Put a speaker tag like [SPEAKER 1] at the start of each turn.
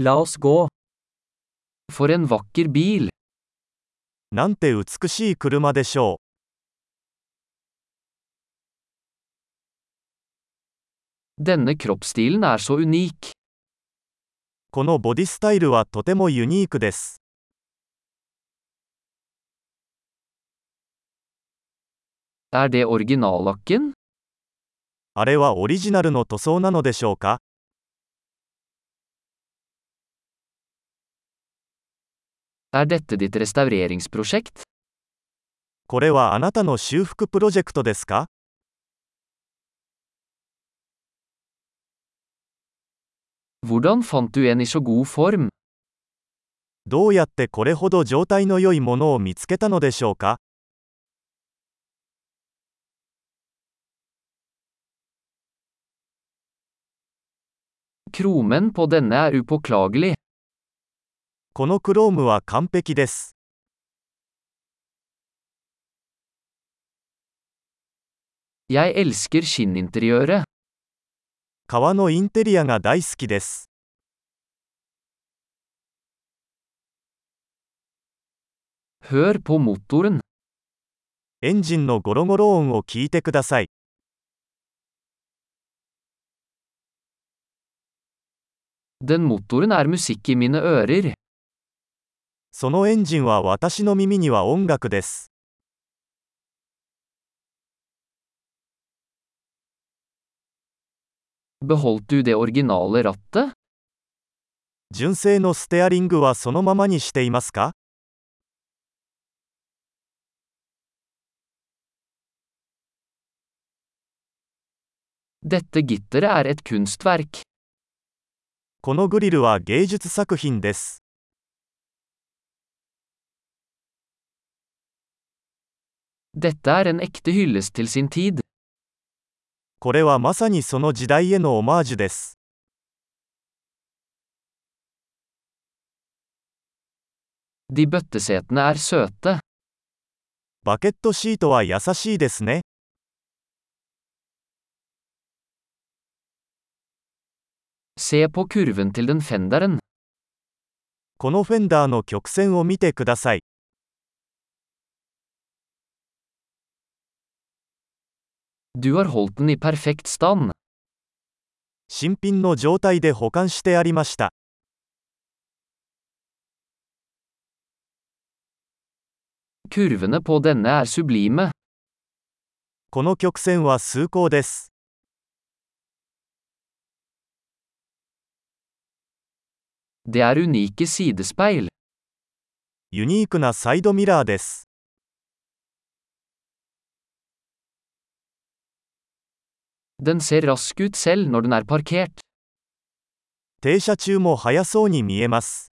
[SPEAKER 1] La oss gå. For en vakker bil.
[SPEAKER 2] なんて美しい車でしょ
[SPEAKER 1] Denne kroppsstilen er så unik.
[SPEAKER 2] う。このボディスタイルはとてもユニークです。
[SPEAKER 1] Er det originallakken?
[SPEAKER 2] あれはオリジナルの塗装なのでしょうか
[SPEAKER 1] Er dette ditt restaureringsprosjekt?
[SPEAKER 2] これはあなたの修復プロジェクトですか
[SPEAKER 1] Hvordan fant du en i så god form?
[SPEAKER 2] どうやってこれほど状態の良いものを見つけたのでしょうか
[SPEAKER 1] Kromen på denne er upåklagelig.
[SPEAKER 2] このクロームは完璧です。
[SPEAKER 1] Jeg elsker skinninteriøret.
[SPEAKER 2] 革のインテリアが大好きです。
[SPEAKER 1] Hør på motoren.
[SPEAKER 2] エンジンのゴロゴロ音を聞いてください。
[SPEAKER 1] Den motoren er musikk i mine ører.
[SPEAKER 2] そのエンジンは私の耳には音楽です。
[SPEAKER 1] Beholdt du det originale rattet?
[SPEAKER 2] 純正のステアリングはそのままにしていますか
[SPEAKER 1] Dette gitteret er et kunstverk.
[SPEAKER 2] このグリルは芸術作品です。
[SPEAKER 1] Dette er en ekte hyllest til sin tid.
[SPEAKER 2] これはまさにその時代へのオマージュです。
[SPEAKER 1] De bøttesetene er søte.
[SPEAKER 2] バケットシートは優しいですね。
[SPEAKER 1] Se på kurven til den fenderen.
[SPEAKER 2] このフェンダーの曲線を見てください。
[SPEAKER 1] Du har holdt den i perfekt stand.
[SPEAKER 2] 新品の状態で保管してありました。
[SPEAKER 1] Kurvene på denne er sublime.
[SPEAKER 2] この曲線は崇高です。
[SPEAKER 1] Det er unike sidespeil.
[SPEAKER 2] ユニークなサイドミラーです。
[SPEAKER 1] Den ser rask ut selv når den er parkert.
[SPEAKER 2] 停車中も速そうに見えます。